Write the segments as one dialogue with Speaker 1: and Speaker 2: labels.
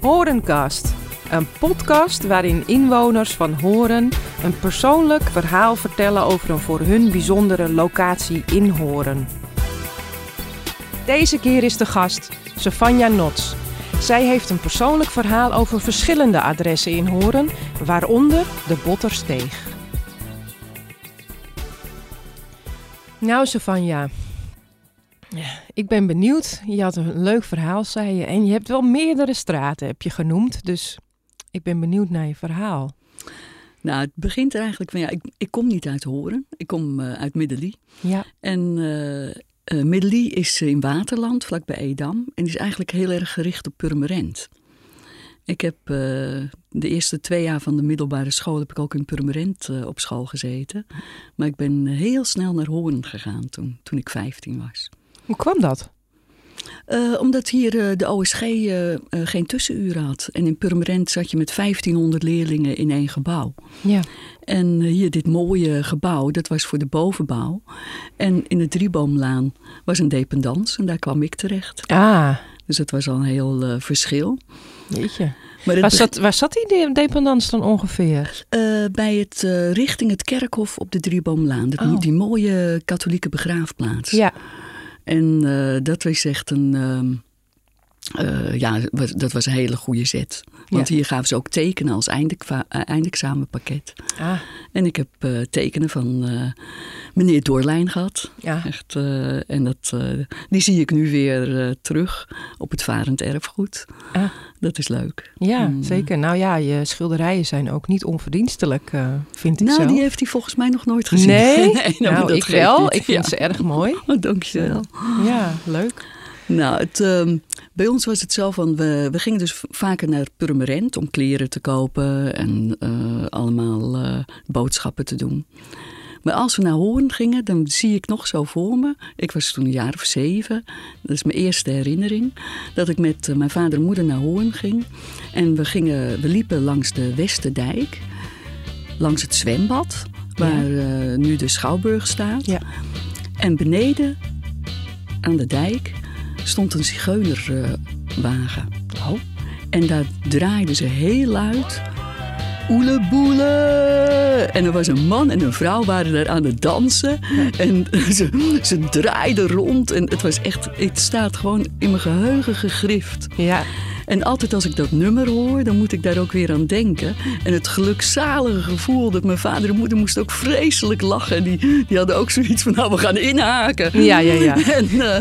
Speaker 1: Horencast. Een podcast waarin inwoners van Horen een persoonlijk verhaal vertellen over een voor hun bijzondere locatie in Horen. Deze keer is de gast Savanja Nots. Zij heeft een persoonlijk verhaal over verschillende adressen in Horen, waaronder de Bottersteeg. Nou, Savanja, ik ben benieuwd. Je had een leuk verhaal, zei je. En je hebt wel meerdere straten, heb je genoemd. Dus ik ben benieuwd naar je verhaal.
Speaker 2: Nou, het begint er eigenlijk van ja, ik, ik kom niet uit Horen. Ik kom eh, uit Middelie.
Speaker 1: Ja,
Speaker 2: En eh eh, Middelie is in Waterland, vlakbij Edam. En is eigenlijk heel erg gericht op Purmerend. Ik heb eh, de eerste twee jaar van de middelbare school heb ik ook in Purmerend eh, op school gezeten. Maar ik ben heel snel naar Hoorn gegaan toen, toen ik 15 was.
Speaker 1: hoe kwam dat?
Speaker 2: Eh, omdat hier eh, de OSG eh, eh, geen tussenuren had. En in Purmerend zat je met 1500 leerlingen in één gebouw.
Speaker 1: Ja,
Speaker 2: En eh, hier dit mooie gebouw, dat was voor de bovenbouw. En in de Drieboomlaan was een dependance en daar kwam ik terecht.
Speaker 1: ah,
Speaker 2: Dus dat was al een heel eh, verschil.
Speaker 1: weet je.
Speaker 2: Maar het
Speaker 1: Waar zat, waar zat die de- dependance dan ongeveer?
Speaker 2: eh, bij het eh, richting het kerkhof op de Drieboomlaan. Dat
Speaker 1: Oh.
Speaker 2: moet die mooie katholieke begraafplaats.
Speaker 1: Ja,
Speaker 2: En eh, dat was echt een. ehm, eh, ja, was- dat was een hele goede zet. Want
Speaker 1: Ja.
Speaker 2: hier gaven ze ook tekenen als eindekva- eh, eindexamenpakket.
Speaker 1: ah,
Speaker 2: En ik heb eh, tekenen van eh, meneer Doorlijn gehad.
Speaker 1: ja.
Speaker 2: Echt, eh, en dat, eh, die zie ik nu weer eh, terug op het Varend Erfgoed.
Speaker 1: Ah.
Speaker 2: Dat is leuk.
Speaker 1: ja
Speaker 2: Mm.
Speaker 1: zeker. Nou ja, je schilderijen zijn ook niet onverdienstelijk, eh, vind ik
Speaker 2: nou,
Speaker 1: zo.
Speaker 2: die heeft hij volgens mij nog nooit gezien.
Speaker 1: Nee,
Speaker 2: maar
Speaker 1: nou,
Speaker 2: dat
Speaker 1: ik
Speaker 2: geeft
Speaker 1: wel.
Speaker 2: niet.
Speaker 1: Ik vind
Speaker 2: Ja.
Speaker 1: ze erg mooi.
Speaker 2: Oh, dankjewel.
Speaker 1: Ja, leuk.
Speaker 2: Nou, het, ehm, bij ons was het zo van, we, we gingen dus v- vaker naar Purmerend om kleren te kopen en eh, allemaal eh, boodschappen te doen. Maar als we naar Hoorn gingen, dan zie ik nog zo voor me. Ik was toen een jaar of zeven. Dat is mijn eerste herinnering. Dat ik met eh, mijn vader en moeder naar Hoorn ging. En we, gingen, we liepen langs de Westerdijk. Langs het zwembad, waar eh, nu de Schouwburg staat.
Speaker 1: Ja.
Speaker 2: En beneden, aan de dijk, stond een zigeunerwagen.
Speaker 1: Oh.
Speaker 2: En daar draaiden ze heel luid. Oele boele! En er was een man en een vrouw waren daar aan het dansen. En ze, ze draaiden rond. En het was echt, het staat gewoon in mijn geheugen gegrift.
Speaker 1: Ja,
Speaker 2: En altijd als ik dat nummer hoor, dan moet ik daar ook weer aan denken. En het gelukzalige gevoel dat mijn vader en moeder moesten ook vreselijk lachen. En die, die hadden ook zoiets van, nou, we gaan inhaken.
Speaker 1: Ja, ja, ja.
Speaker 2: En eh,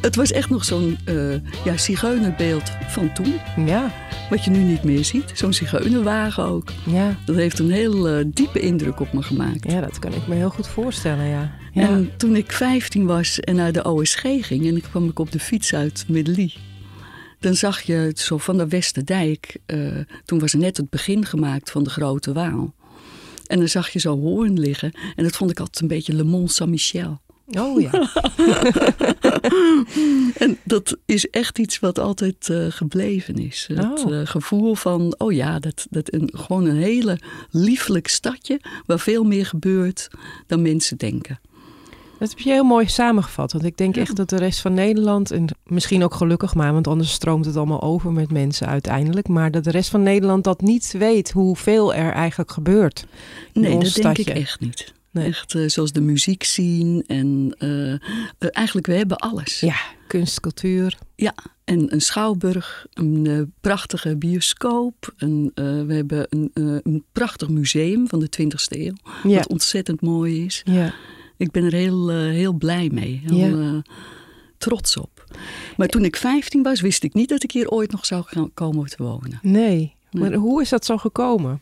Speaker 2: het was echt nog zo'n eh ja, zigeunerbeeld van toen.
Speaker 1: ja,
Speaker 2: Wat je nu niet meer ziet. Zo'n zigeunerwagen ook.
Speaker 1: ja.
Speaker 2: Dat heeft een heel eh, diepe indruk op me gemaakt.
Speaker 1: Ja, dat kan ik me heel goed voorstellen, ja. Ja,
Speaker 2: En toen ik 15 was en naar de OSG ging en ik kwam ik op de fiets uit Middelie. Dan zag je het zo van de Westerdijk. eh, toen was net het begin gemaakt van de Grote Waal. En dan zag je zo Hoorn liggen. En dat vond ik altijd een beetje Le Mont Saint-Michel.
Speaker 1: oh ja.
Speaker 2: En dat is echt iets wat altijd eh, gebleven is. Het
Speaker 1: Oh.
Speaker 2: eh, gevoel van, oh ja, dat, dat een, gewoon een hele lieflijk stadje... waar veel meer gebeurt dan mensen denken.
Speaker 1: Dat heb je heel mooi samengevat. Want ik denk echt dat de rest van Nederland, en misschien ook gelukkig maar, want anders stroomt het allemaal over met mensen uiteindelijk. Maar dat de rest van Nederland dat niet weet hoeveel er eigenlijk gebeurt. in
Speaker 2: Nee, dat
Speaker 1: ons stadje.
Speaker 2: denk ik echt niet.
Speaker 1: Nee.
Speaker 2: Echt eh, zoals de muziek zien en eh, eh, eigenlijk we hebben alles.
Speaker 1: Ja, kunst, cultuur.
Speaker 2: En een schouwburg, een eh, prachtige bioscoop, een, eh, we hebben een, eh, een prachtig museum van de 20e eeuw,
Speaker 1: Ja.
Speaker 2: wat ontzettend mooi is.
Speaker 1: Ja.
Speaker 2: Ik ben er heel, eh, heel blij mee, heel
Speaker 1: Ja.
Speaker 2: eh, trots op. Maar toen ik 15 was, wist ik niet dat ik hier ooit nog zou gaan komen te wonen.
Speaker 1: Nee. Maar hoe is dat zo gekomen?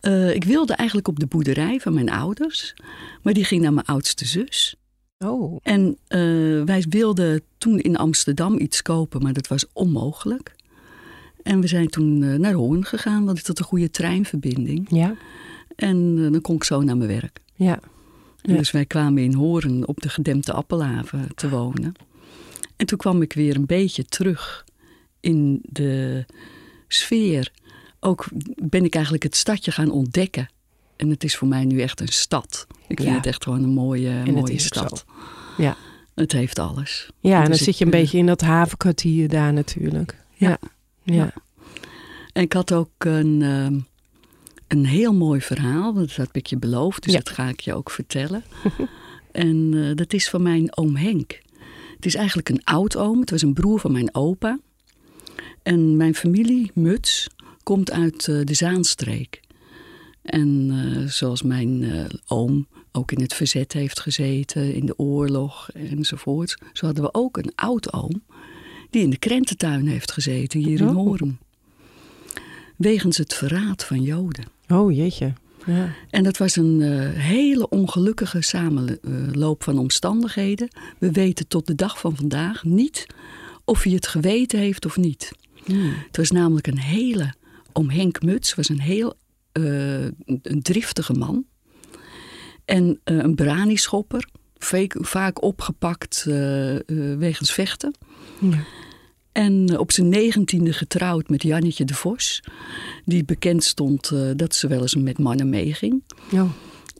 Speaker 2: Eh, ik wilde eigenlijk op de boerderij van mijn ouders, maar die ging naar mijn oudste zus.
Speaker 1: Oh,
Speaker 2: En eh, wij wilden toen in Amsterdam iets kopen, maar dat was onmogelijk. En we zijn toen eh, naar Hoorn gegaan, want het had een goede treinverbinding.
Speaker 1: ja.
Speaker 2: En eh, dan kon ik zo naar mijn werk.
Speaker 1: Ja.
Speaker 2: En
Speaker 1: Ja.
Speaker 2: Dus wij kwamen in Hoorn op de gedempte appelhaven te wonen. En toen kwam ik weer een beetje terug in de sfeer. Ook ben ik eigenlijk het stadje gaan ontdekken. En het is voor mij nu echt een stad. Ik vind
Speaker 1: Ja.
Speaker 2: het echt gewoon een mooie,
Speaker 1: het
Speaker 2: mooie
Speaker 1: is ook
Speaker 2: stad.
Speaker 1: zo. Ja.
Speaker 2: Het heeft alles.
Speaker 1: Ja, en
Speaker 2: Dus
Speaker 1: dan
Speaker 2: ik,
Speaker 1: zit je een
Speaker 2: eh,
Speaker 1: beetje in dat havenkwartier daar natuurlijk.
Speaker 2: Ja.
Speaker 1: Ja. ja.
Speaker 2: En ik had ook een, ehm, een heel mooi verhaal. Dat had ik je beloofd, dus
Speaker 1: Ja.
Speaker 2: dat ga ik je ook vertellen. en eh, dat is van mijn oom Henk. Het is eigenlijk een oud-oom. Het was een broer van mijn opa. En mijn familie, Muts, komt uit eh, de Zaanstreek. En eh, zoals mijn eh, oom ook in het verzet heeft gezeten, in de oorlog enzovoort. Zo hadden we ook een oud-oom die in de krententuin heeft gezeten hier in
Speaker 1: Oh.
Speaker 2: Hoorn. Wegens het verraad van Joden.
Speaker 1: Oh jeetje. Ja.
Speaker 2: En dat was een eh, hele ongelukkige samenloop van omstandigheden. We weten tot de dag van vandaag niet of hij het geweten heeft of niet.
Speaker 1: Hmm.
Speaker 2: Het was namelijk een hele, om Henk Muts, was een heel eh, een driftige man. En eh, een branischopper, vaak, vaak opgepakt eh, eh, wegens vechten.
Speaker 1: Ja.
Speaker 2: En eh, op zijn negentiende getrouwd met Jannetje de Vos. Die bekend stond eh, dat ze wel eens met mannen meeging.
Speaker 1: Oh.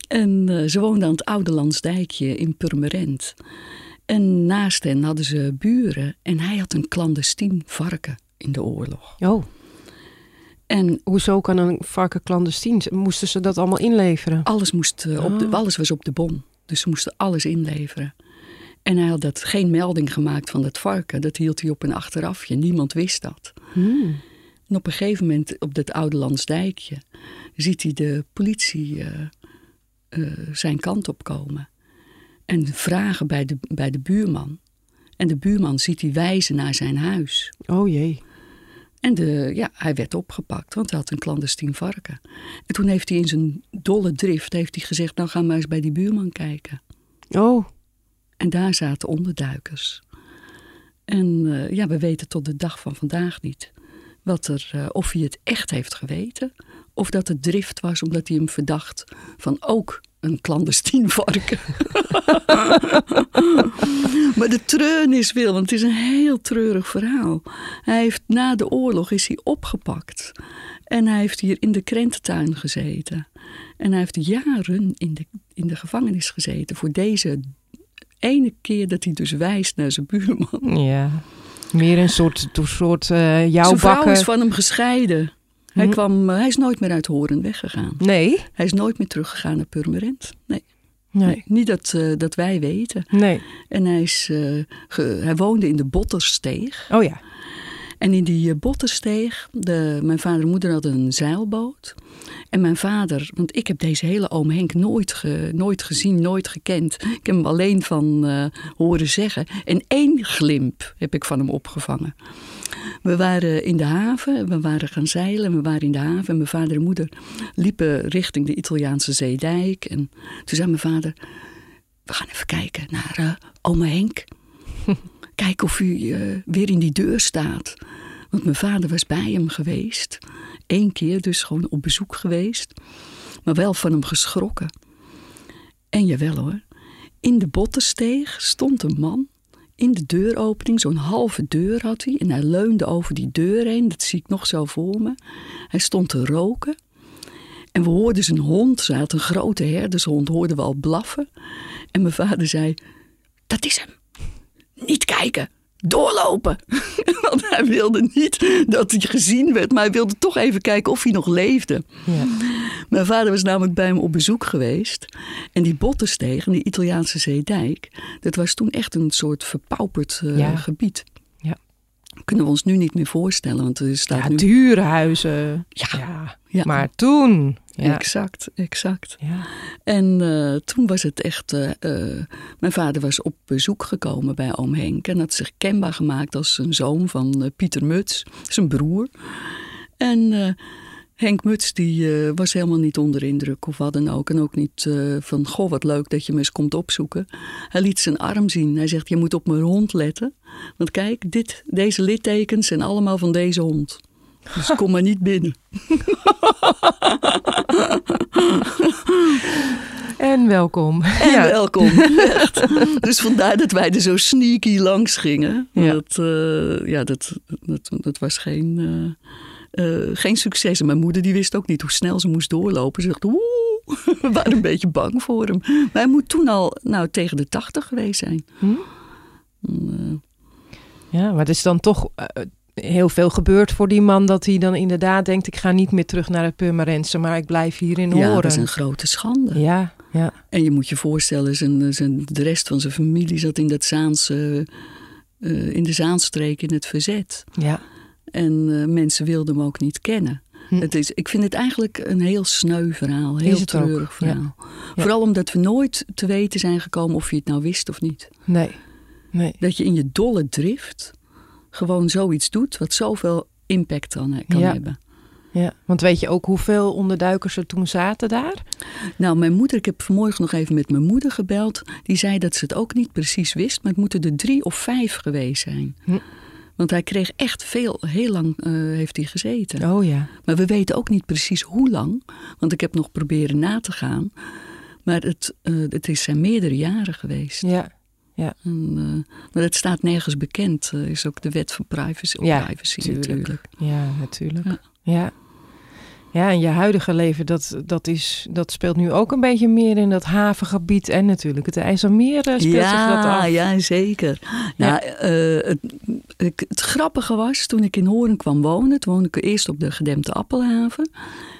Speaker 2: En eh, ze woonden aan het Oude Landsdijkje in Purmerend. En naast hen hadden ze buren. En hij had een clandestien varken in de oorlog.
Speaker 1: oh,
Speaker 2: En
Speaker 1: hoezo kan een varken clandestien? zijn? Moesten ze dat allemaal inleveren?
Speaker 2: alles, moest, eh, op de,
Speaker 1: Ah.
Speaker 2: alles was op de bon. Dus ze moesten alles inleveren. En hij had dat, geen melding gemaakt van dat varken. Dat hield hij op een achterafje. Niemand wist dat.
Speaker 1: Hmm.
Speaker 2: En op een gegeven moment op dat Oude Landsdijkje ziet hij de politie eh, eh, zijn kant op komen. En vragen bij de, bij de buurman. En de buurman ziet hij wijzen naar zijn huis.
Speaker 1: Oh jee.
Speaker 2: En de, ja, hij werd opgepakt, want hij had een clandestien varken. En toen heeft hij in zijn dolle drift heeft hij gezegd... nou ga maar eens bij die buurman kijken.
Speaker 1: Oh,
Speaker 2: En daar zaten onderduikers. En eh, ja, we weten tot de dag van vandaag niet wat er, eh, of hij het echt heeft geweten. Of dat het drift was omdat hij hem verdacht van ook een clandestien varken. maar de treun is wil, want het is een heel treurig verhaal. Hij heeft na de oorlog is hij opgepakt. En hij heeft hier in de krententuin gezeten. En hij heeft jaren in de, in de gevangenis gezeten voor deze ene keer dat hij dus wijst naar zijn buurman.
Speaker 1: ja. Meer een soort, to- soort eh
Speaker 2: Zijn
Speaker 1: jouw
Speaker 2: vrouw
Speaker 1: bakken.
Speaker 2: is van hem gescheiden. Hij,
Speaker 1: Hm.
Speaker 2: kwam, eh, hij is nooit meer uit Horen weggegaan.
Speaker 1: Nee?
Speaker 2: Hij is nooit meer teruggegaan naar Purmerend. Nee,
Speaker 1: Nee.
Speaker 2: nee. niet dat, eh, dat wij weten.
Speaker 1: Nee.
Speaker 2: En hij, is, eh, ge- hij woonde in de Bottersteeg.
Speaker 1: Oh ja.
Speaker 2: En in die eh, Bottersteeg, de, mijn vader en moeder hadden een zeilboot. En mijn vader, want ik heb deze hele oom Henk nooit, ge- nooit gezien, nooit gekend. Ik heb hem alleen van eh, horen zeggen. En één glimp heb ik van hem opgevangen. We waren in de haven, we waren gaan zeilen, we waren in de haven. En mijn vader en moeder liepen richting de Italiaanse zeedijk. En toen zei mijn vader, we gaan even kijken naar eh oma Henk. Kijk of u eh, weer in die deur staat. Want mijn vader was bij hem geweest. Eén keer dus gewoon op bezoek geweest. Maar wel van hem geschrokken. En jawel hoor. In de bottensteeg stond een man. In de deuropening, zo'n halve deur had hij. En hij leunde over die deur heen. Dat zie ik nog zo voor me. Hij stond te roken. En we hoorden zijn hond. Ze had een grote herdershond. Hoorden we al blaffen. En mijn vader zei... Dat is hem niet kijken. Doorlopen. Want hij wilde niet dat hij gezien werd, maar hij wilde toch even kijken of hij nog leefde.
Speaker 1: Ja.
Speaker 2: Mijn vader was namelijk bij hem op bezoek geweest. En die Bottensteeg en die Italiaanse zeedijk, dat was toen echt een soort verpauperd eh,
Speaker 1: Ja.
Speaker 2: gebied.
Speaker 1: Ja.
Speaker 2: Kunnen we ons nu niet meer voorstellen, want er staat
Speaker 1: ja
Speaker 2: nu...
Speaker 1: dure huizen.
Speaker 2: Ja,
Speaker 1: Ja.
Speaker 2: ja,
Speaker 1: Maar toen. Ja.
Speaker 2: exact, exact.
Speaker 1: Ja.
Speaker 2: En eh, toen was het echt. eh, eh, mijn vader was op bezoek gekomen bij oom Henk en had zich kenbaar gemaakt als een zoon van eh, Pieter Muts, zijn broer. En eh, Henk Muts die eh, was helemaal niet onder indruk of wat dan ook. En ook niet eh, van, goh wat leuk dat je me eens komt opzoeken. Hij liet zijn arm zien. Hij zegt, je moet op mijn hond letten. Want kijk, dit, deze littekens zijn allemaal van deze hond. Dus kom maar niet binnen.
Speaker 1: En welkom.
Speaker 2: En
Speaker 1: ja.
Speaker 2: welkom. Echt. Dus vandaar dat wij er zo sneaky langs gingen.
Speaker 1: Ja.
Speaker 2: Dat, eh, ja, dat, dat, dat was geen, eh, eh, geen succes. En mijn moeder die wist ook niet hoe snel ze moest doorlopen. Ze dacht, oeh, we waren een beetje bang voor hem. Maar hij moet toen al nou, tegen de tachtig geweest zijn.
Speaker 1: Hm?
Speaker 2: Mm, eh,
Speaker 1: Ja, maar het is dan toch eh, heel veel gebeurt voor die man. Dat hij dan inderdaad denkt, ik ga niet meer terug naar het Purmerense, maar ik blijf hier in
Speaker 2: Ja,
Speaker 1: Horen.
Speaker 2: dat is een grote schande.
Speaker 1: ja, ja.
Speaker 2: En je moet je voorstellen, zijn, zijn, de rest van zijn familie zat in, dat Zaanse, eh, in de Zaanstreek in het verzet.
Speaker 1: ja.
Speaker 2: En eh, mensen wilden hem ook niet kennen.
Speaker 1: Hm.
Speaker 2: Het is, ik vind het eigenlijk een heel sneu verhaal, heel
Speaker 1: Is het ook,
Speaker 2: treurig
Speaker 1: ja.
Speaker 2: verhaal.
Speaker 1: Ja.
Speaker 2: Vooral omdat we nooit te weten zijn gekomen of je het nou wist of niet.
Speaker 1: Nee. Nee.
Speaker 2: Dat je in je dolle drift gewoon zoiets doet wat zoveel impact dan eh, kan
Speaker 1: Ja.
Speaker 2: hebben.
Speaker 1: Ja. Want weet je ook hoeveel onderduikers er toen zaten daar?
Speaker 2: Nou, mijn moeder, ik heb vanmorgen nog even met mijn moeder gebeld. Die zei dat ze het ook niet precies wist, maar het moeten er drie of vijf geweest zijn.
Speaker 1: Hm.
Speaker 2: Want hij kreeg echt veel, heel lang eh, heeft hij gezeten.
Speaker 1: Oh ja.
Speaker 2: Maar we weten ook niet precies hoe lang, want ik heb nog proberen na te gaan. Maar het, eh, het is zijn meerdere jaren geweest.
Speaker 1: Ja.
Speaker 2: En, eh, maar het staat nergens bekend, eh, is ook de wet van privacy, op
Speaker 1: Ja,
Speaker 2: privacy
Speaker 1: tuurlijk.
Speaker 2: natuurlijk.
Speaker 1: Ja, natuurlijk.
Speaker 2: Ja.
Speaker 1: Ja. ja. en je huidige leven, dat, dat, is, dat speelt nu ook een beetje meer in dat havengebied. En natuurlijk het IJsselmeer eh, speelt zich dat
Speaker 2: Ja,
Speaker 1: af.
Speaker 2: ja, zeker. Nou, eh, het, ik- het grappige was, toen ik in Hoorn kwam wonen... toen woonde ik eerst op de gedempte Appelhaven.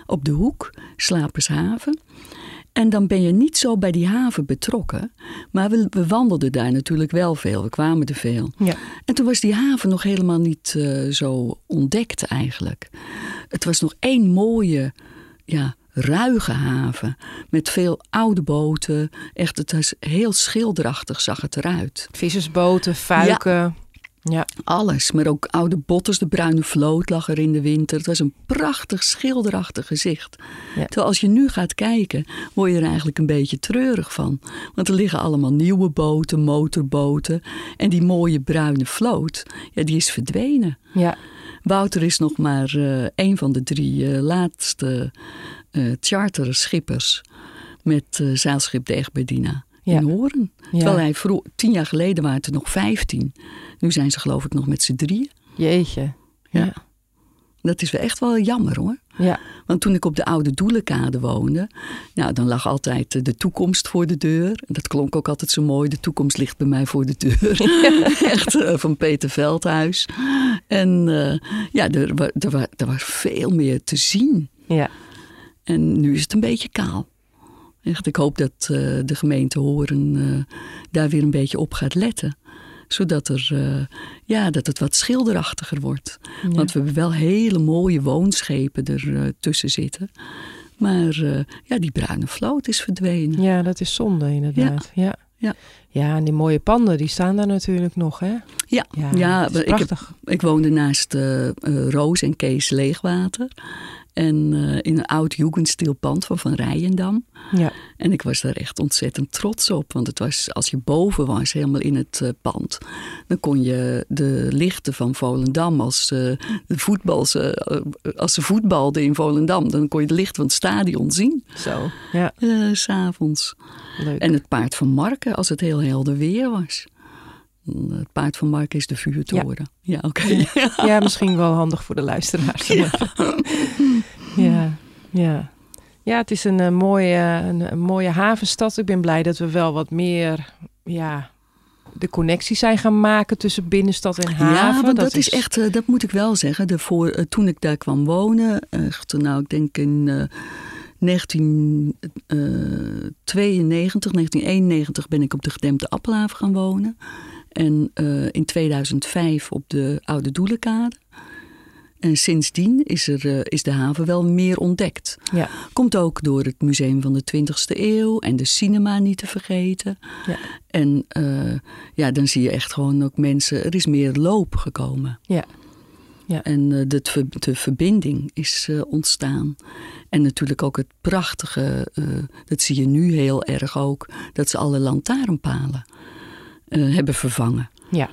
Speaker 2: Op de hoek, Slapershaven. En dan ben je niet zo bij die haven betrokken. Maar we, we wandelden daar natuurlijk wel veel. We kwamen er veel.
Speaker 1: Ja.
Speaker 2: En toen was die haven nog helemaal niet eh, zo ontdekt eigenlijk. Het was nog één mooie, ja, ruige haven. Met veel oude boten. Echt, het was heel schilderachtig zag het eruit.
Speaker 1: Vissersboten, fuiken. Ja.
Speaker 2: Alles, maar ook oude botters. De bruine vloot lag er in de winter. Het was een prachtig schilderachtig gezicht.
Speaker 1: Ja.
Speaker 2: Terwijl als je nu gaat kijken, word je er eigenlijk een beetje treurig van. Want er liggen allemaal nieuwe boten, motorboten. En die mooie bruine vloot, ja, die is verdwenen.
Speaker 1: ja.
Speaker 2: Wouter is nog maar eh een van de drie eh, laatste eh charterschippers met eh, zeilschip de Egberdina
Speaker 1: Ja.
Speaker 2: in Hoorn.
Speaker 1: Ja.
Speaker 2: Terwijl hij vroeg, tien jaar geleden waren het er nog vijftien. Nu zijn ze geloof ik nog met z'n drieën.
Speaker 1: Jeetje.
Speaker 2: Ja. Dat is wel echt wel jammer hoor.
Speaker 1: Ja.
Speaker 2: Want toen ik op de oude Doelenkade woonde, nou, dan lag altijd eh, de toekomst voor de deur. Dat klonk ook altijd zo mooi. De toekomst ligt bij mij voor de deur. Echt eh, van Peter Veldhuis. En eh, ja, er, wa- er, wa- er was veel meer te zien.
Speaker 1: Ja.
Speaker 2: En nu is het een beetje kaal. Echt, ik hoop dat eh, de gemeente Horen eh, daar weer een beetje op gaat letten. Zodat er, eh, ja, dat het wat schilderachtiger wordt.
Speaker 1: Ja.
Speaker 2: Want we hebben wel hele mooie woonschepen er eh, tussen zitten. Maar eh, ja, die bruine vloot is verdwenen.
Speaker 1: Ja, dat is zonde inderdaad. Ja. Ja.
Speaker 2: Ja.
Speaker 1: en die mooie panden, die staan daar natuurlijk nog, hè?
Speaker 2: Ja, ja,
Speaker 1: Ja, het is
Speaker 2: maar ik, heb,
Speaker 1: prachtig.
Speaker 2: ik woonde naast eh, eh, Roos en Kees Leegwater. En eh, in een oud jugendstil pand van Van Rijendam.
Speaker 1: Ja.
Speaker 2: En ik was daar echt ontzettend trots op. Want het was, als je boven was, helemaal in het eh, pand... dan kon je de lichten van Volendam... Als, eh, de voetbal, ze, eh, als ze voetbalden in Volendam... dan kon je het licht van het stadion zien,
Speaker 1: Zo. Ja,
Speaker 2: eh, s s'avonds.
Speaker 1: leuk.
Speaker 2: En het paard van Marken, als het heel helder weer was. Mm, Het paard van Marken is de vuurtoren. Ja, oké.
Speaker 1: Ja, misschien wel handig voor de luisteraars. Ja, ja. ja. het is een, eh, mooie, eh, een, een mooie havenstad. Ik ben blij dat we wel wat meer ja, de connectie zijn gaan maken tussen binnenstad en haven.
Speaker 2: Ja, want dat, is echt, eh, dat moet ik wel zeggen. De voor, eh, toen ik daar kwam wonen, echt, nou, ik denk in eh 1992, 1991 ben ik op de gedempte Appelhaven gaan wonen. En eh, in 2005 op de Oude Doelenkade. En sindsdien is, er, eh, is de haven wel meer ontdekt.
Speaker 1: Ja.
Speaker 2: Komt ook door het museum van de 20e eeuw en de cinema niet te vergeten.
Speaker 1: Ja.
Speaker 2: En eh, ja, dan zie je echt gewoon ook mensen. Er is meer loop gekomen.
Speaker 1: Ja. Ja.
Speaker 2: En eh, de, ver- de verbinding is eh, ontstaan. En natuurlijk ook het prachtige, eh, dat zie je nu heel erg ook, dat ze alle lantaarnpalen eh, hebben vervangen.
Speaker 1: Ja.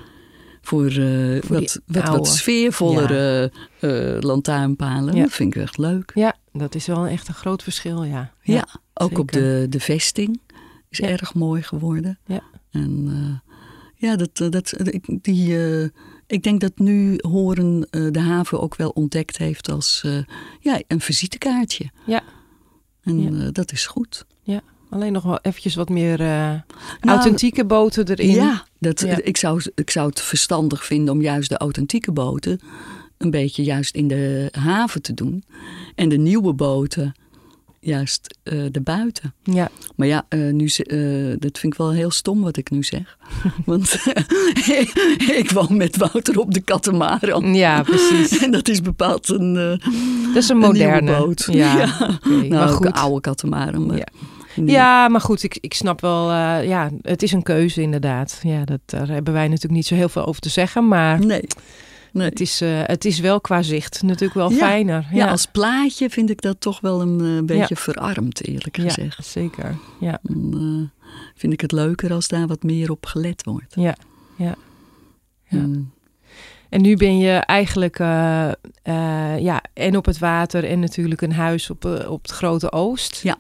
Speaker 2: Voor, eh,
Speaker 1: die
Speaker 2: wat, wat, wat
Speaker 1: oude.
Speaker 2: sfeervollere eh, lantaarnpalen.
Speaker 1: Ja.
Speaker 2: Dat vind ik echt leuk.
Speaker 1: Ja, dat is wel een- echt een groot verschil, ja.
Speaker 2: Ja, ook op
Speaker 1: zeker.
Speaker 2: de, de vesting is
Speaker 1: Ja.
Speaker 2: erg mooi geworden.
Speaker 1: Ja.
Speaker 2: En eh, ja, dat, eh, dat, ik- die, eh, ik denk dat nu Horen eh, de haven ook wel ontdekt heeft als eh, ja, een visitekaartje.
Speaker 1: Ja.
Speaker 2: En
Speaker 1: Ja.
Speaker 2: eh, dat is goed.
Speaker 1: Alleen nog wel eventjes wat meer eh, authentieke boten erin.
Speaker 2: Nou, Ja, dat,
Speaker 1: Ja.
Speaker 2: Ik, zou, ik zou het verstandig vinden om juist de authentieke boten een beetje juist in de haven te doen. En de nieuwe boten juist eh erbuiten.
Speaker 1: Ja.
Speaker 2: Maar ja, eh, nu, ze- eh, dat vind ik wel heel stom wat ik nu zeg. Want eh, ik woon met Wouter op de Katamaran.
Speaker 1: Ja, precies.
Speaker 2: En dat is bepaald een, eh,
Speaker 1: Dat is een
Speaker 2: een nieuwe
Speaker 1: moderne
Speaker 2: boot.
Speaker 1: Ja, oké. maar
Speaker 2: Nou, ook een
Speaker 1: goed.
Speaker 2: oude Katamaran. Maar
Speaker 1: Ja.
Speaker 2: een nieuwe.
Speaker 1: Ja, maar goed, ik, ik snap wel. eh, ja, het is een keuze inderdaad. Ja, dat, daar hebben wij natuurlijk niet zo heel veel over te zeggen. Maar
Speaker 2: Nee. nee.
Speaker 1: het is, eh, het is wel qua zicht natuurlijk wel
Speaker 2: Ja.
Speaker 1: fijner.
Speaker 2: Ja, als plaatje vind ik dat toch wel een eh, beetje verarmd, eerlijk
Speaker 1: Ja,
Speaker 2: gezegd.
Speaker 1: zeker. Ja.
Speaker 2: Dan eh, vind ik het leuker als daar wat meer op gelet wordt.
Speaker 1: Ja, ja, ja.
Speaker 2: Mm.
Speaker 1: En nu ben je eigenlijk eh, eh, ja, en op het water en natuurlijk een huis op, eh, op het Grote Oost.
Speaker 2: Ja.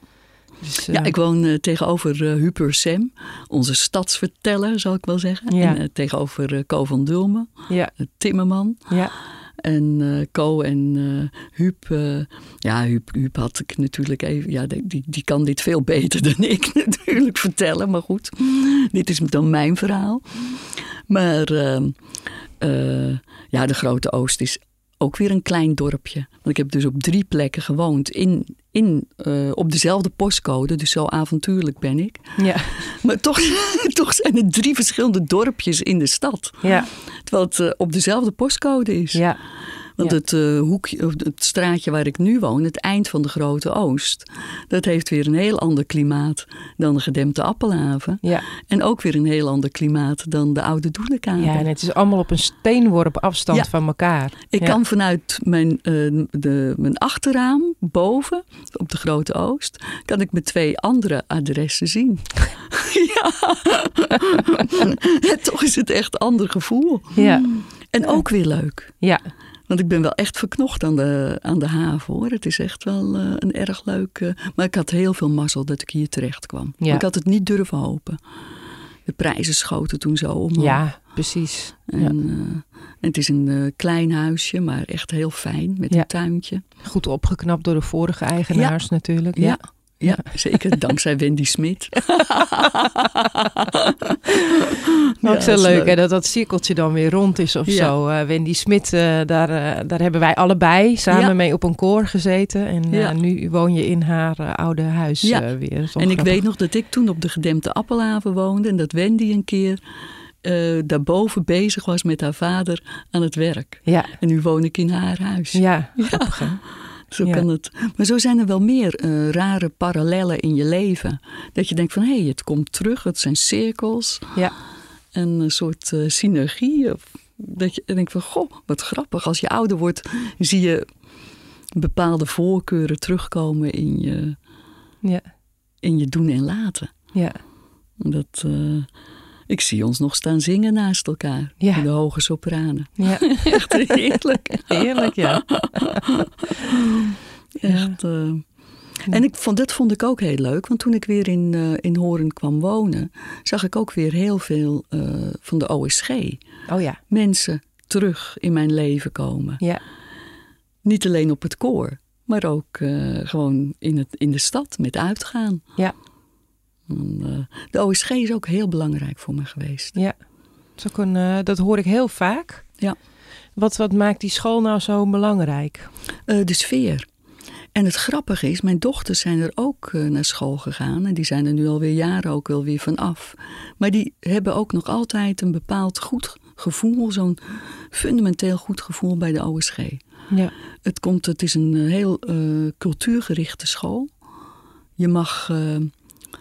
Speaker 1: Dus, eh,
Speaker 2: ja ik woon eh, tegenover eh Huper Sem, onze stadsverteller, zal ik wel zeggen.
Speaker 1: Ja.
Speaker 2: En, eh, tegenover eh, Co van Dulmen,
Speaker 1: ja,
Speaker 2: eh, Timmerman.
Speaker 1: ja,
Speaker 2: En eh Co en eh Huub, eh, ja, Huub, Huub had ik natuurlijk even, ja, die, die- die kan dit veel beter dan ik natuurlijk vertellen, maar goed, dit is dan mijn verhaal. Maar ehm, eh, ja, de Grote Oost is ook weer een klein dorpje. Want ik heb dus op drie plekken gewoond, in, in, eh, op dezelfde postcode, dus zo avontuurlijk ben ik.
Speaker 1: ja,
Speaker 2: Maar toch, toch zijn het drie verschillende dorpjes in de stad,
Speaker 1: ja,
Speaker 2: terwijl het eh, op dezelfde postcode is.
Speaker 1: ja.
Speaker 2: Want
Speaker 1: Ja.
Speaker 2: het, eh, hoekje, of het straatje waar ik nu woon, het eind van de Grote Oost, dat heeft weer een heel ander klimaat dan de gedempte Appelhaven.
Speaker 1: ja.
Speaker 2: En ook weer een heel ander klimaat dan de Oude Doelenkamer.
Speaker 1: Ja, en het is allemaal op een steenworp afstand
Speaker 2: Ja.
Speaker 1: van elkaar.
Speaker 2: ik
Speaker 1: ja.
Speaker 2: kan vanuit mijn, eh, de, mijn achterraam, boven, op de Grote Oost, kan ik mijn twee andere adressen zien. ja, En toch is het echt een ander gevoel.
Speaker 1: Ja,
Speaker 2: En ook weer leuk.
Speaker 1: ja,
Speaker 2: Want ik ben wel echt verknocht aan de, aan de haven hoor. Het is echt wel eh, een erg leuk. eh, maar ik had heel veel mazzel dat ik hier terecht kwam.
Speaker 1: Ja.
Speaker 2: Ik had het niet durven hopen. De prijzen schoten toen zo omhoog.
Speaker 1: ja, precies.
Speaker 2: En, eh, het is een eh, klein huisje, maar echt heel fijn met
Speaker 1: Ja.
Speaker 2: een tuintje.
Speaker 1: Goed opgeknapt door de vorige eigenaars natuurlijk. Ja.
Speaker 2: Ja, zeker. Dankzij Wendy Smit.
Speaker 1: Ook
Speaker 2: Ja,
Speaker 1: zo
Speaker 2: dat is
Speaker 1: leuk,
Speaker 2: leuk.
Speaker 1: hè, dat dat cirkeltje dan weer rond is of
Speaker 2: Ja.
Speaker 1: zo. Eh, Wendy Smit, eh, daar, eh, daar hebben wij allebei samen
Speaker 2: Ja.
Speaker 1: mee op een koor gezeten. En eh,
Speaker 2: Ja.
Speaker 1: nu woon je in haar eh, oude huis
Speaker 2: Ja.
Speaker 1: eh, weer. Dat is wel
Speaker 2: En ik
Speaker 1: grappig.
Speaker 2: weet nog dat ik toen op de gedempte Appelhaven woonde en dat Wendy een keer eh, daarboven bezig was met haar vader aan het werk.
Speaker 1: Ja,
Speaker 2: En nu woon ik in haar huis.
Speaker 1: ja, grappig hè?
Speaker 2: Zo
Speaker 1: ja.
Speaker 2: kan het. Maar zo zijn er wel meer eh, rare parallellen in je leven. Dat je denkt van hé, hey, het komt terug, het zijn cirkels.
Speaker 1: Ja.
Speaker 2: En een soort eh, synergie. Of Dat je denkt van goh, wat grappig. Als je ouder wordt zie je bepaalde voorkeuren terugkomen in je,
Speaker 1: Ja,
Speaker 2: in je doen en laten.
Speaker 1: ja,
Speaker 2: Dat, eh, ik zie ons nog staan zingen naast elkaar.
Speaker 1: Ja.
Speaker 2: In de hoge sopranen.
Speaker 1: ja.
Speaker 2: Echt heerlijk.
Speaker 1: Heerlijk, ja.
Speaker 2: Echt. eh. En ik vond, dat vond ik ook heel leuk, want toen ik weer in, eh, in Horen kwam wonen, zag ik ook weer heel veel eh, van de OSG.
Speaker 1: Oh ja,
Speaker 2: Mensen terug in mijn leven komen.
Speaker 1: ja,
Speaker 2: Niet alleen op het koor, maar ook eh, gewoon in, het, in de stad met uitgaan.
Speaker 1: Ja.
Speaker 2: En, eh, de OSG is ook heel belangrijk voor me geweest.
Speaker 1: ja. Dat, is ook een, eh, dat hoor ik heel vaak.
Speaker 2: Ja.
Speaker 1: Wat, wat maakt die school nou zo belangrijk?
Speaker 2: Eh, de sfeer. En het grappige is, mijn dochters zijn er ook eh, naar school gegaan. En die zijn er nu alweer jaren ook wel weer van af. Maar die hebben ook nog altijd een bepaald goed gevoel. Zo'n fundamenteel goed gevoel bij de OSG.
Speaker 1: Ja,
Speaker 2: Het, komt, het is een eh, heel eh, cultuurgerichte school. Je mag... eh,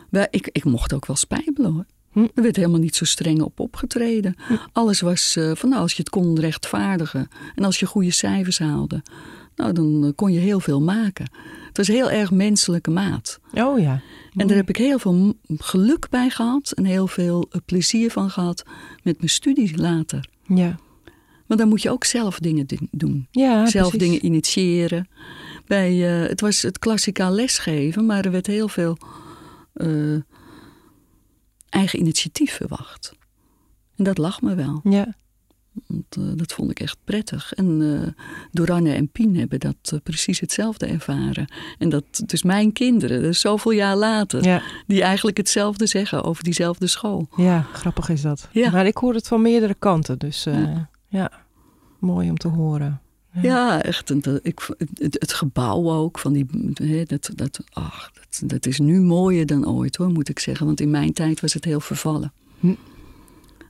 Speaker 2: wij- ik, ik mocht ook wel spijbelen hoor.
Speaker 1: Hm.
Speaker 2: Er werd helemaal niet zo streng op opgetreden. Alles was eh, van nou, als je het kon rechtvaardigen. En als je goede cijfers haalde. Nou, dan eh, kon je heel veel maken. Het was heel erg menselijke maat.
Speaker 1: oh ja.
Speaker 2: En daar heb ik heel veel m- geluk bij gehad. En heel veel eh, plezier van gehad met mijn studie later.
Speaker 1: Ja,
Speaker 2: Want dan moet je ook zelf dingen di- doen
Speaker 1: ja
Speaker 2: zelf
Speaker 1: Ah, precies.
Speaker 2: dingen initiëren. Bij, eh, het was het klassikaal lesgeven, maar er werd heel veel eh, eigen initiatief verwacht. En dat lag me wel.
Speaker 1: Ja,
Speaker 2: Want, eh, dat vond ik echt prettig. En eh Doranne en Pien hebben dat eh, precies hetzelfde ervaren. En dat dus mijn kinderen, dus zoveel jaar later,
Speaker 1: Ja,
Speaker 2: die eigenlijk hetzelfde zeggen over diezelfde school.
Speaker 1: ja, grappig is dat.
Speaker 2: Ja.
Speaker 1: Maar ik hoor het van meerdere kanten, dus eh, ja. mooi om te horen.
Speaker 2: Ja, echt. En dat- ik, v- het, het gebouw ook, van die, hè, dat, dat, ach, dat, dat is nu mooier dan ooit hoor, moet ik zeggen. Want in mijn tijd was het heel vervallen.
Speaker 1: Hm.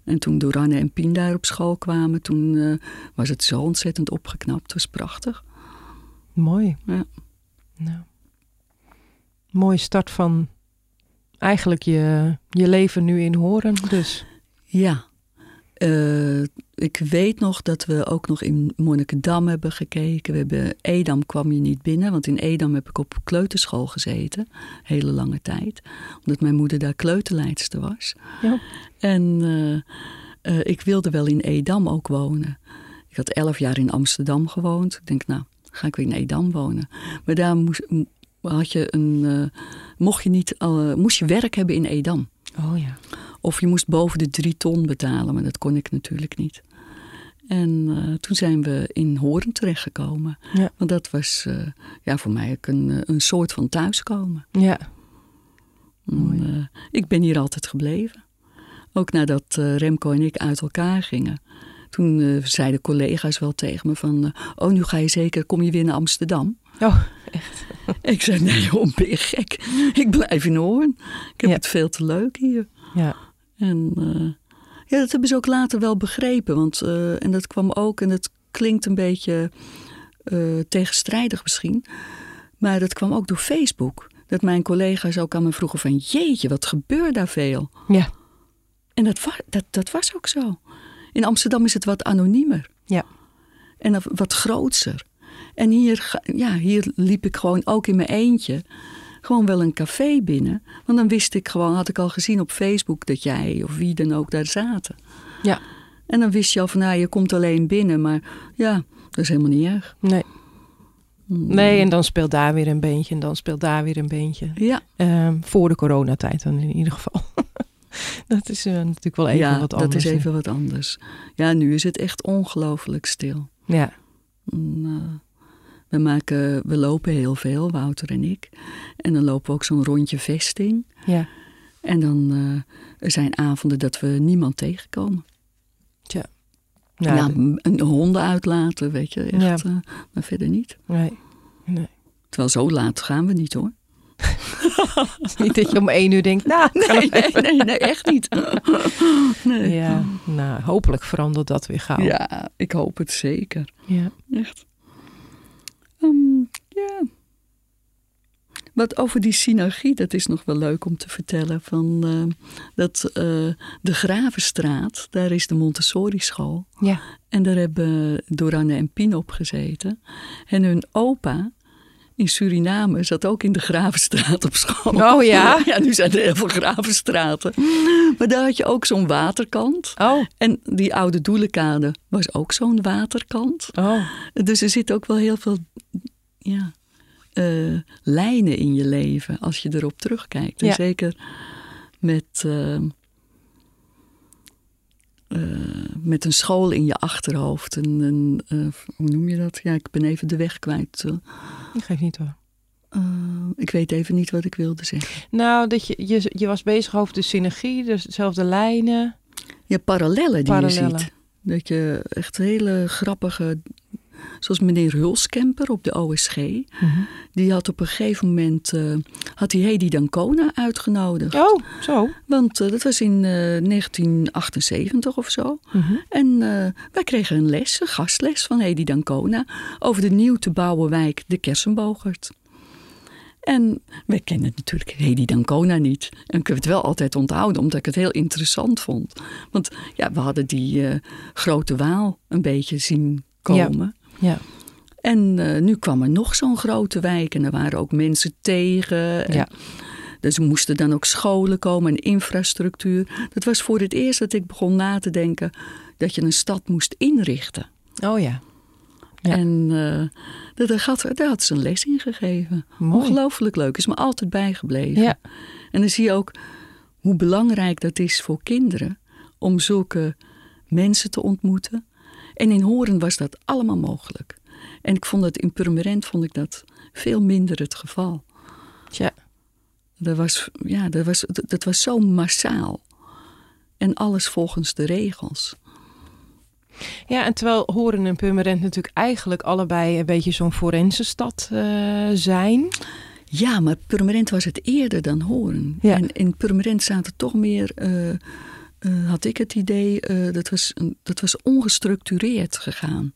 Speaker 2: En toen Doranne en Pien daar op school kwamen, toen eh, was het zo ontzettend opgeknapt. Het was prachtig.
Speaker 1: Mooi.
Speaker 2: Ja.
Speaker 1: Nou. Mooie start van eigenlijk je, je leven nu in horen. Dus
Speaker 2: Ja. Eh, ik weet nog dat we ook nog in Monnikendam hebben gekeken. We hebben Edam kwam je niet binnen, want in Edam heb ik op kleuterschool gezeten. Hele lange tijd. Omdat mijn moeder daar kleuterleidster was.
Speaker 1: Ja.
Speaker 2: En eh, eh, ik wilde wel in Edam ook wonen. Ik had elf jaar in Amsterdam gewoond. Ik denk, nou, ga ik weer in Edam wonen. Maar daar moest, m- had je een, eh, mocht je niet, eh, moest je werk hebben in Edam.
Speaker 1: oh ja.
Speaker 2: Of je moest boven de drie ton betalen, maar dat kon ik natuurlijk niet. En eh, toen zijn we in Hoorn terechtgekomen.
Speaker 1: Ja.
Speaker 2: Want dat was eh, ja, voor mij ook een, eh, een soort van thuiskomen.
Speaker 1: Ja,
Speaker 2: En, eh, ik ben hier altijd gebleven. Ook nadat eh, Remco en ik uit elkaar gingen. Toen eh, zeiden collega's wel tegen me van... eh, oh, nu ga je zeker, kom je weer naar Amsterdam?
Speaker 1: Oh,
Speaker 2: echt? Ik zei, nee joh, ben je gek? Ik blijf in Hoorn. Ik heb
Speaker 1: Ja.
Speaker 2: het veel te leuk hier.
Speaker 1: ja.
Speaker 2: En eh, ja, dat hebben ze ook later wel begrepen. Want, eh, en dat kwam ook, en dat klinkt een beetje eh, tegenstrijdig misschien. Maar dat kwam ook door Facebook. Dat mijn collega's ook aan me vroegen van... Jeetje, wat gebeurt daar veel?
Speaker 1: Ja.
Speaker 2: En dat, wa- dat, dat was ook zo. In Amsterdam is het wat anoniemer.
Speaker 1: Ja.
Speaker 2: En af- wat grootser. En hier, ga- ja, hier liep ik gewoon ook in mijn eentje... gewoon wel een café binnen. Want dan wist ik gewoon, had ik al gezien op Facebook... dat jij of wie dan ook daar zaten.
Speaker 1: Ja.
Speaker 2: En dan wist je al van, nou, je komt alleen binnen. Maar ja, dat is helemaal niet erg.
Speaker 1: Nee. nee, en dan speelt daar weer een beentje en dan speelt daar weer een beentje.
Speaker 2: Ja,
Speaker 1: Ehm, voor de coronatijd dan in ieder geval. dat is eh, natuurlijk wel even
Speaker 2: ja
Speaker 1: wat
Speaker 2: dat
Speaker 1: anders.
Speaker 2: is even wat anders. Ja, nu is het echt ongelooflijk stil.
Speaker 1: Ja,
Speaker 2: En, eh, we, maken, we lopen heel veel, Wouter en ik. En dan lopen we ook zo'n rondje vesting.
Speaker 1: ja.
Speaker 2: En dan eh, er zijn avonden dat we niemand tegenkomen. Ja,
Speaker 1: Nou, d-
Speaker 2: m- een honden uitlaten, weet je. Echt, eh, maar verder niet.
Speaker 1: nee. nee.
Speaker 2: Terwijl zo laat gaan we niet hoor.
Speaker 1: Niet dat je om één uur denkt, nou, ik ga nog
Speaker 2: Nee, nee, nee, nee, echt niet. nee.
Speaker 1: Ja, nou, hopelijk verandert dat weer gauw.
Speaker 2: ja, ik hoop het zeker.
Speaker 1: Ja.
Speaker 2: Echt. Ehm, ja. Wat over die synergie, dat is nog wel leuk om te vertellen. Van, eh, dat eh, de Gravenstraat, daar is de Montessori-school.
Speaker 1: Ja.
Speaker 2: En daar hebben Doranne en Pien op gezeten. En hun opa in Suriname zat ook in de Gravenstraat op school.
Speaker 1: Oh ja?
Speaker 2: Ja, nu zijn er heel veel Gravenstraten. Maar daar had je ook zo'n waterkant.
Speaker 1: Oh,
Speaker 2: En die oude Doelenkade was ook zo'n waterkant.
Speaker 1: oh.
Speaker 2: Dus er zit ook wel heel veel ja, eh, lijnen in je leven als je erop terugkijkt.
Speaker 1: Ja.
Speaker 2: En zeker met, eh, eh, met een school in je achterhoofd. En, en, eh, hoe noem je dat? Ja, ik ben even de weg kwijt. Eh,
Speaker 1: Dat geeft niet hoor.
Speaker 2: eh, ik weet even niet wat ik wilde zeggen.
Speaker 1: Nou, dat je, je, je was bezig over de synergie, dus dezelfde lijnen.
Speaker 2: Ja, parallellen die je
Speaker 1: Parallellen.
Speaker 2: ziet. Dat je echt hele grappige... Zoals meneer Hulskemper op de OSG.
Speaker 1: Mhm.
Speaker 2: Die had op een gegeven moment eh, had hij Hedy Dancona uitgenodigd.
Speaker 1: Oh, zo.
Speaker 2: Want eh, dat was in eh, 1978 of zo.
Speaker 1: Mhm.
Speaker 2: En eh, wij kregen een les, een gastles van Hedy Dancona... over de nieuw te bouwen wijk De Kersenbogert. En wij kennen natuurlijk Hedy Dancona niet. En ik heb het wel altijd onthouden, omdat ik het heel interessant vond. Want ja, we hadden die eh, grote waal een beetje zien
Speaker 1: Ja.
Speaker 2: komen.
Speaker 1: Ja.
Speaker 2: En eh, nu kwam er nog zo'n grote wijk en er waren ook mensen tegen. En
Speaker 1: Ja.
Speaker 2: Dus er moesten dan ook scholen komen en infrastructuur. Dat was voor het eerst dat ik begon na te denken dat je een stad moest inrichten.
Speaker 1: Oh ja. Ja.
Speaker 2: En eh, dat, daar, had, daar had ze een les in gegeven.
Speaker 1: Mooi.
Speaker 2: Ongelooflijk leuk, is me altijd bijgebleven.
Speaker 1: Ja.
Speaker 2: En dan zie je ook hoe belangrijk dat is voor kinderen om zulke mensen te ontmoeten En in Horen was dat allemaal mogelijk. En ik vond dat in Purmerend vond ik dat veel minder het geval.
Speaker 1: Tja.
Speaker 2: Dat was, ja, dat was, dat, dat was zo massaal. En alles volgens de regels.
Speaker 1: Ja, en terwijl Horen en Purmerend natuurlijk eigenlijk allebei een beetje zo'n forense stad eh, zijn.
Speaker 2: Ja, maar Purmerend was het eerder dan Horen.
Speaker 1: Ja.
Speaker 2: En in Purmerend zaten toch meer, eh, eh, had ik het idee, eh, dat, was, een- dat was ongestructureerd gegaan.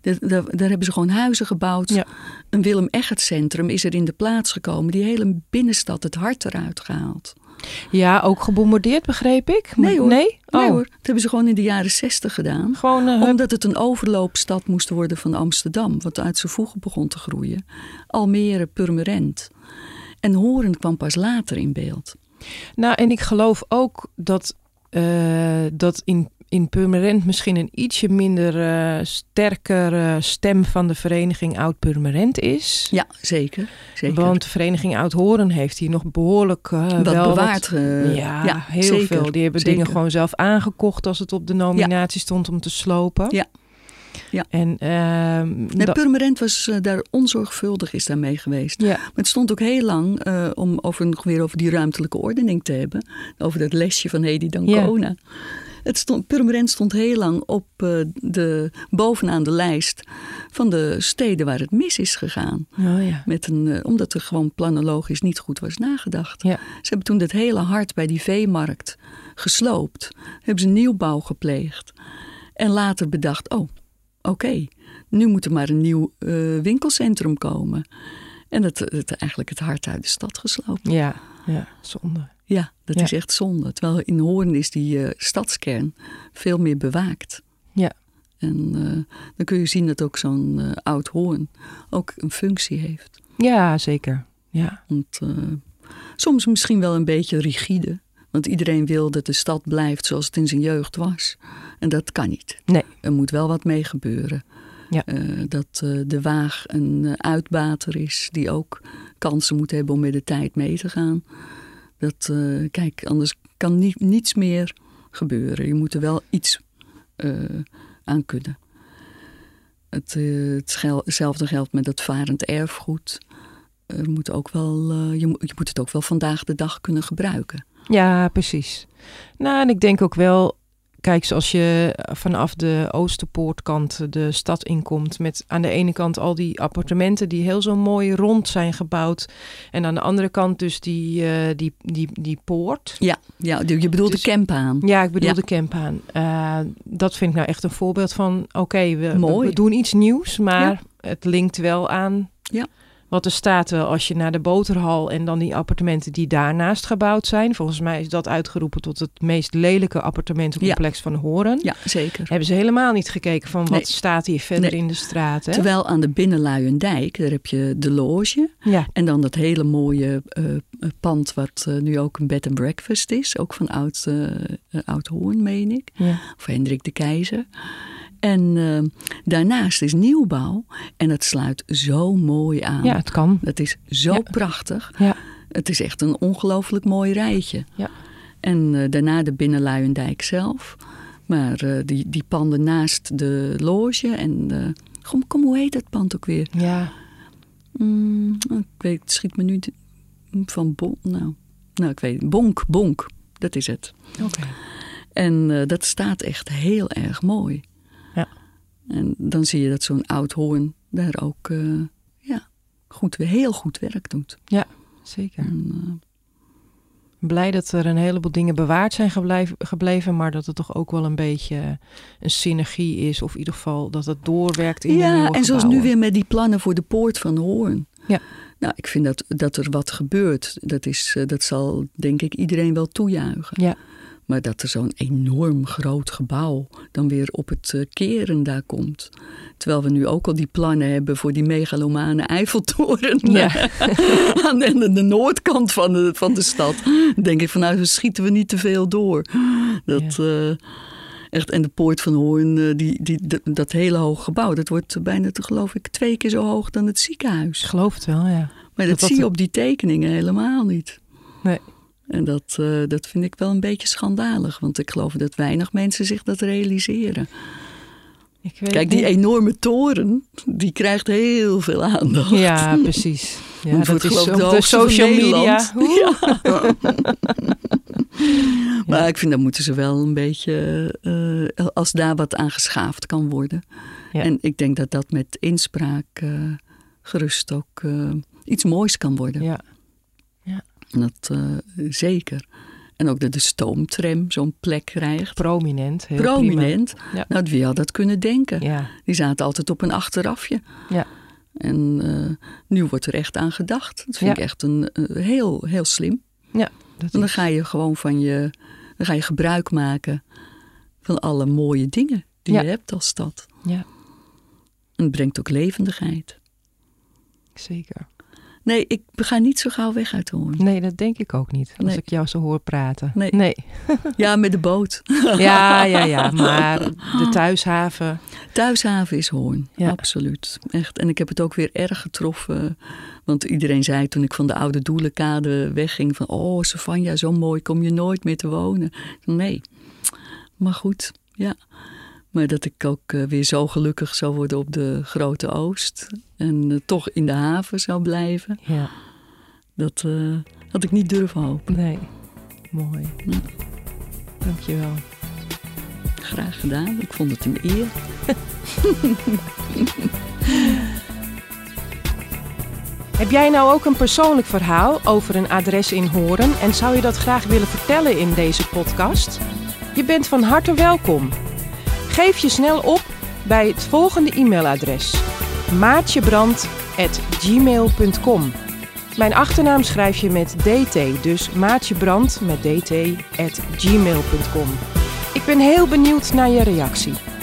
Speaker 2: Daar, daar, daar hebben ze gewoon huizen gebouwd.
Speaker 1: Ja.
Speaker 2: Een Willem Eggert centrum is er in de plaats gekomen. Die hele binnenstad het hart eruit gehaald.
Speaker 1: Ja, ook gebombardeerd, begreep ik. Maar-
Speaker 2: Nee hoor.
Speaker 1: Nee? Oh,
Speaker 2: Nee hoor, dat hebben ze gewoon in de jaren zestig gedaan.
Speaker 1: Gewoon eh, hup.
Speaker 2: Omdat het een overloopstad moest worden van Amsterdam, wat uit zijn voegen begon te groeien. Almere, Purmerend. En Horen kwam pas later in beeld.
Speaker 1: Nou, en ik geloof ook dat, eh, dat in, in Purmerend misschien een ietsje minder eh, sterkere stem van de vereniging Oud Purmerend is.
Speaker 2: Ja, zeker. zeker.
Speaker 1: Want de vereniging Oud Horen heeft hier nog behoorlijk eh,
Speaker 2: wat
Speaker 1: wel wat-
Speaker 2: bewaard. eh,
Speaker 1: ja,
Speaker 2: ja,
Speaker 1: heel
Speaker 2: zeker,
Speaker 1: veel. Die hebben
Speaker 2: zeker.
Speaker 1: dingen gewoon zelf aangekocht als het op de nominatie stond om te slopen.
Speaker 2: Ja. Ja.
Speaker 1: En ehm,
Speaker 2: Nee,
Speaker 1: dat-
Speaker 2: Purmerend was eh, daar onzorgvuldig is daarmee geweest.
Speaker 1: ja.
Speaker 2: Maar het stond ook heel lang eh, om over, nog weer over die ruimtelijke ordening te hebben. Over dat lesje van Hedy Dancona. Het stond, Purmerend stond heel lang op eh, de, bovenaan de lijst van de steden waar het mis is gegaan.
Speaker 1: Oh, ja.
Speaker 2: Met een, eh, omdat er gewoon planologisch niet goed was nagedacht.
Speaker 1: Ja.
Speaker 2: Ze hebben toen dat hele hart bij die veemarkt gesloopt. Hebben ze nieuwbouw gepleegd. En later bedacht, oh, oké, nu moet er maar een nieuw eh, winkelcentrum komen. En dat, dat eigenlijk het hart uit de stad gesloopt.
Speaker 1: Ja. ja, zonde.
Speaker 2: Ja, dat
Speaker 1: Ja.
Speaker 2: is echt zonde. Terwijl in Hoorn is die eh, stadskern veel meer bewaakt.
Speaker 1: Ja.
Speaker 2: En eh, dan kun je zien dat ook zo'n eh, oud hoorn ook een functie heeft.
Speaker 1: Ja, zeker. Ja.
Speaker 2: Want, eh, soms misschien wel een beetje rigide. Want iedereen wil dat de stad blijft zoals het in zijn jeugd was. En dat kan niet.
Speaker 1: Nee.
Speaker 2: Er moet wel wat mee gebeuren.
Speaker 1: Ja.
Speaker 2: Eh, dat eh, de waag een eh, uitbater is die ook kansen moet hebben om met de tijd mee te gaan. Dat, eh, kijk, anders kan ni- niets meer gebeuren. Je moet er wel iets eh, aan kunnen. Het, eh, het schel- hetzelfde geldt met dat varend erfgoed. Er moet ook wel, eh, je, mo- je moet het ook wel vandaag de dag kunnen gebruiken.
Speaker 1: Ja, precies. Nou, en ik denk ook wel, kijk, zoals je eh, vanaf de Oosterpoortkant de stad inkomt, met aan de ene kant al die appartementen die heel zo mooi rond zijn gebouwd, en aan de andere kant dus die, eh, die, die, die poort.
Speaker 2: Ja, ja je je bedoelt
Speaker 1: Dus-
Speaker 2: de campaan.
Speaker 1: Ja, ik bedoel
Speaker 2: Ja.
Speaker 1: de campaan. Eh, dat vind ik nou echt een voorbeeld van, oké, we,
Speaker 2: Mooi.
Speaker 1: we doen iets nieuws, maar het linkt wel aan
Speaker 2: Ja.
Speaker 1: wat er staat. Wel, als je naar de boterhal en dan die appartementen die daarnaast gebouwd zijn. Volgens mij is dat uitgeroepen tot het meest lelijke appartementencomplex van Horen.
Speaker 2: Ja, zeker.
Speaker 1: Hebben ze helemaal niet gekeken van wat
Speaker 2: Nee.
Speaker 1: staat hier verder
Speaker 2: Nee.
Speaker 1: in de straat. Hè?
Speaker 2: Terwijl aan de Binnenluiendijk, daar heb je de loge.
Speaker 1: Ja.
Speaker 2: En dan dat hele mooie eh, eh, pand wat eh, nu ook een bed and breakfast is. Ook van oud, eh eh, oud Hoorn, meen ik.
Speaker 1: Ja.
Speaker 2: Of Hendrik de Keizer. En eh, daarnaast is nieuwbouw. En dat sluit zo mooi aan.
Speaker 1: ja, het kan.
Speaker 2: Dat is zo
Speaker 1: Ja.
Speaker 2: prachtig.
Speaker 1: Ja.
Speaker 2: Het is echt een ongelooflijk mooi rijtje.
Speaker 1: Ja.
Speaker 2: En eh, daarna de Binnenluiendijk zelf. Maar eh, die, die panden naast de loge en... eh, kom, kom, hoe heet dat pand ook weer?
Speaker 1: Ja.
Speaker 2: Mm, ik weet, het schiet me nu de- van Bonk. Nou, nou, ik weet het. Bonk, Bonk. Dat is het.
Speaker 1: Oké.
Speaker 2: En eh, dat staat echt heel erg mooi.
Speaker 1: Ja.
Speaker 2: En dan zie je dat zo'n oud hoorn daar ook eh, ja, goed, heel goed werk doet.
Speaker 1: Zeker.
Speaker 2: En, eh,
Speaker 1: Blij dat er een heleboel dingen bewaard zijn geblijf- gebleven, maar dat het toch ook wel een beetje een synergie is. Of in ieder geval dat het doorwerkt in de
Speaker 2: ja,
Speaker 1: nieuwe
Speaker 2: en zoals nu
Speaker 1: gebouwen.
Speaker 2: weer met die plannen voor de poort van Hoorn.
Speaker 1: Ja.
Speaker 2: Nou, ik vind dat, dat er wat gebeurt. Dat, is, eh, dat zal denk ik iedereen wel toejuichen.
Speaker 1: Ja.
Speaker 2: Maar dat er zo'n enorm groot gebouw dan weer op het eh, keren daar komt. Terwijl we nu ook al die plannen hebben voor die megalomane Eiffeltoren.
Speaker 1: Ja.
Speaker 2: aan de, de- de noordkant van de, van de stad. Denk ik vanuit, we schieten we niet te veel door. Dat, eh, echt, en de poort van Hoorn, eh, die, die, dat- dat hele hoge gebouw, dat wordt bijna, te- geloof ik, twee keer zo hoog dan het
Speaker 1: Ik
Speaker 2: ziekenhuis.
Speaker 1: geloof het wel, ja.
Speaker 2: Maar
Speaker 1: Dat
Speaker 2: dat,
Speaker 1: dat-
Speaker 2: zie je op die tekeningen helemaal niet.
Speaker 1: Nee.
Speaker 2: En dat, eh, dat vind ik wel een beetje schandalig, want ik geloof dat weinig mensen zich dat realiseren.
Speaker 1: Ik weet
Speaker 2: Kijk, die
Speaker 1: niet.
Speaker 2: enorme toren, die krijgt heel veel aandacht.
Speaker 1: Ja, precies. Ja,
Speaker 2: Want
Speaker 1: dat
Speaker 2: wordt
Speaker 1: is
Speaker 2: geloof ik
Speaker 1: op
Speaker 2: de
Speaker 1: de
Speaker 2: hoogste van
Speaker 1: social media.
Speaker 2: Nederland.
Speaker 1: Oeh.
Speaker 2: Maar ik vind dat moeten ze wel een beetje, eh, als daar wat aan geschaafd kan worden.
Speaker 1: Ja.
Speaker 2: En ik denk dat dat met inspraak eh, gerust ook eh, iets moois kan worden.
Speaker 1: Ja.
Speaker 2: Dat eh, zeker. En ook dat de stoomtram zo'n plek krijgt.
Speaker 1: prominent. Heel
Speaker 2: Prominent.
Speaker 1: Ja.
Speaker 2: Nou, wie had dat kunnen denken?
Speaker 1: Prima. Ja.
Speaker 2: Die zaten altijd op een achterafje.
Speaker 1: Ja.
Speaker 2: En eh, nu wordt er echt aan gedacht. Dat vind
Speaker 1: Ja.
Speaker 2: ik echt een, eh, heel, heel slim.
Speaker 1: Dat
Speaker 2: En dan
Speaker 1: is,
Speaker 2: ga je gewoon van je, dan ga je gebruik maken van alle mooie dingen die
Speaker 1: Ja.
Speaker 2: je hebt als stad.
Speaker 1: ja,
Speaker 2: En het brengt ook levendigheid.
Speaker 1: zeker.
Speaker 2: Nee, ik ga niet zo gauw weg uit de hoorn.
Speaker 1: Nee, dat denk ik ook niet. Als
Speaker 2: Nee.
Speaker 1: ik jou zo hoor praten.
Speaker 2: Nee. Ja, met de boot.
Speaker 1: Ja, ja, ja. Maar de thuishaven.
Speaker 2: Thuishaven is hoorn.
Speaker 1: Ja.
Speaker 2: Absoluut. Echt. En ik heb het ook weer erg getroffen. Want iedereen zei toen ik van de oude doelenkade wegging van... Oh, Savanja, zo mooi, kom je nooit meer te wonen. Nee. Maar goed, ja. Maar dat ik ook eh, weer zo gelukkig zou worden op de Grote Oost. En eh, toch in de haven zou blijven.
Speaker 1: Ja,
Speaker 2: Dat eh, had ik niet durven hopen.
Speaker 1: nee. Mooi.
Speaker 2: Ja.
Speaker 1: Dankjewel.
Speaker 2: Graag gedaan. Ik vond het een eer.
Speaker 1: Heb jij nou ook een persoonlijk verhaal over een adres in Horen en zou je dat graag willen vertellen in deze podcast? Je bent van harte welkom. Geef je snel op bij het volgende e-mailadres: maatjebrand@gmail.com. Mijn achternaam schrijf je met dt, dus maatjebrand met dt@gmail.com. Ik ben heel benieuwd naar je reactie.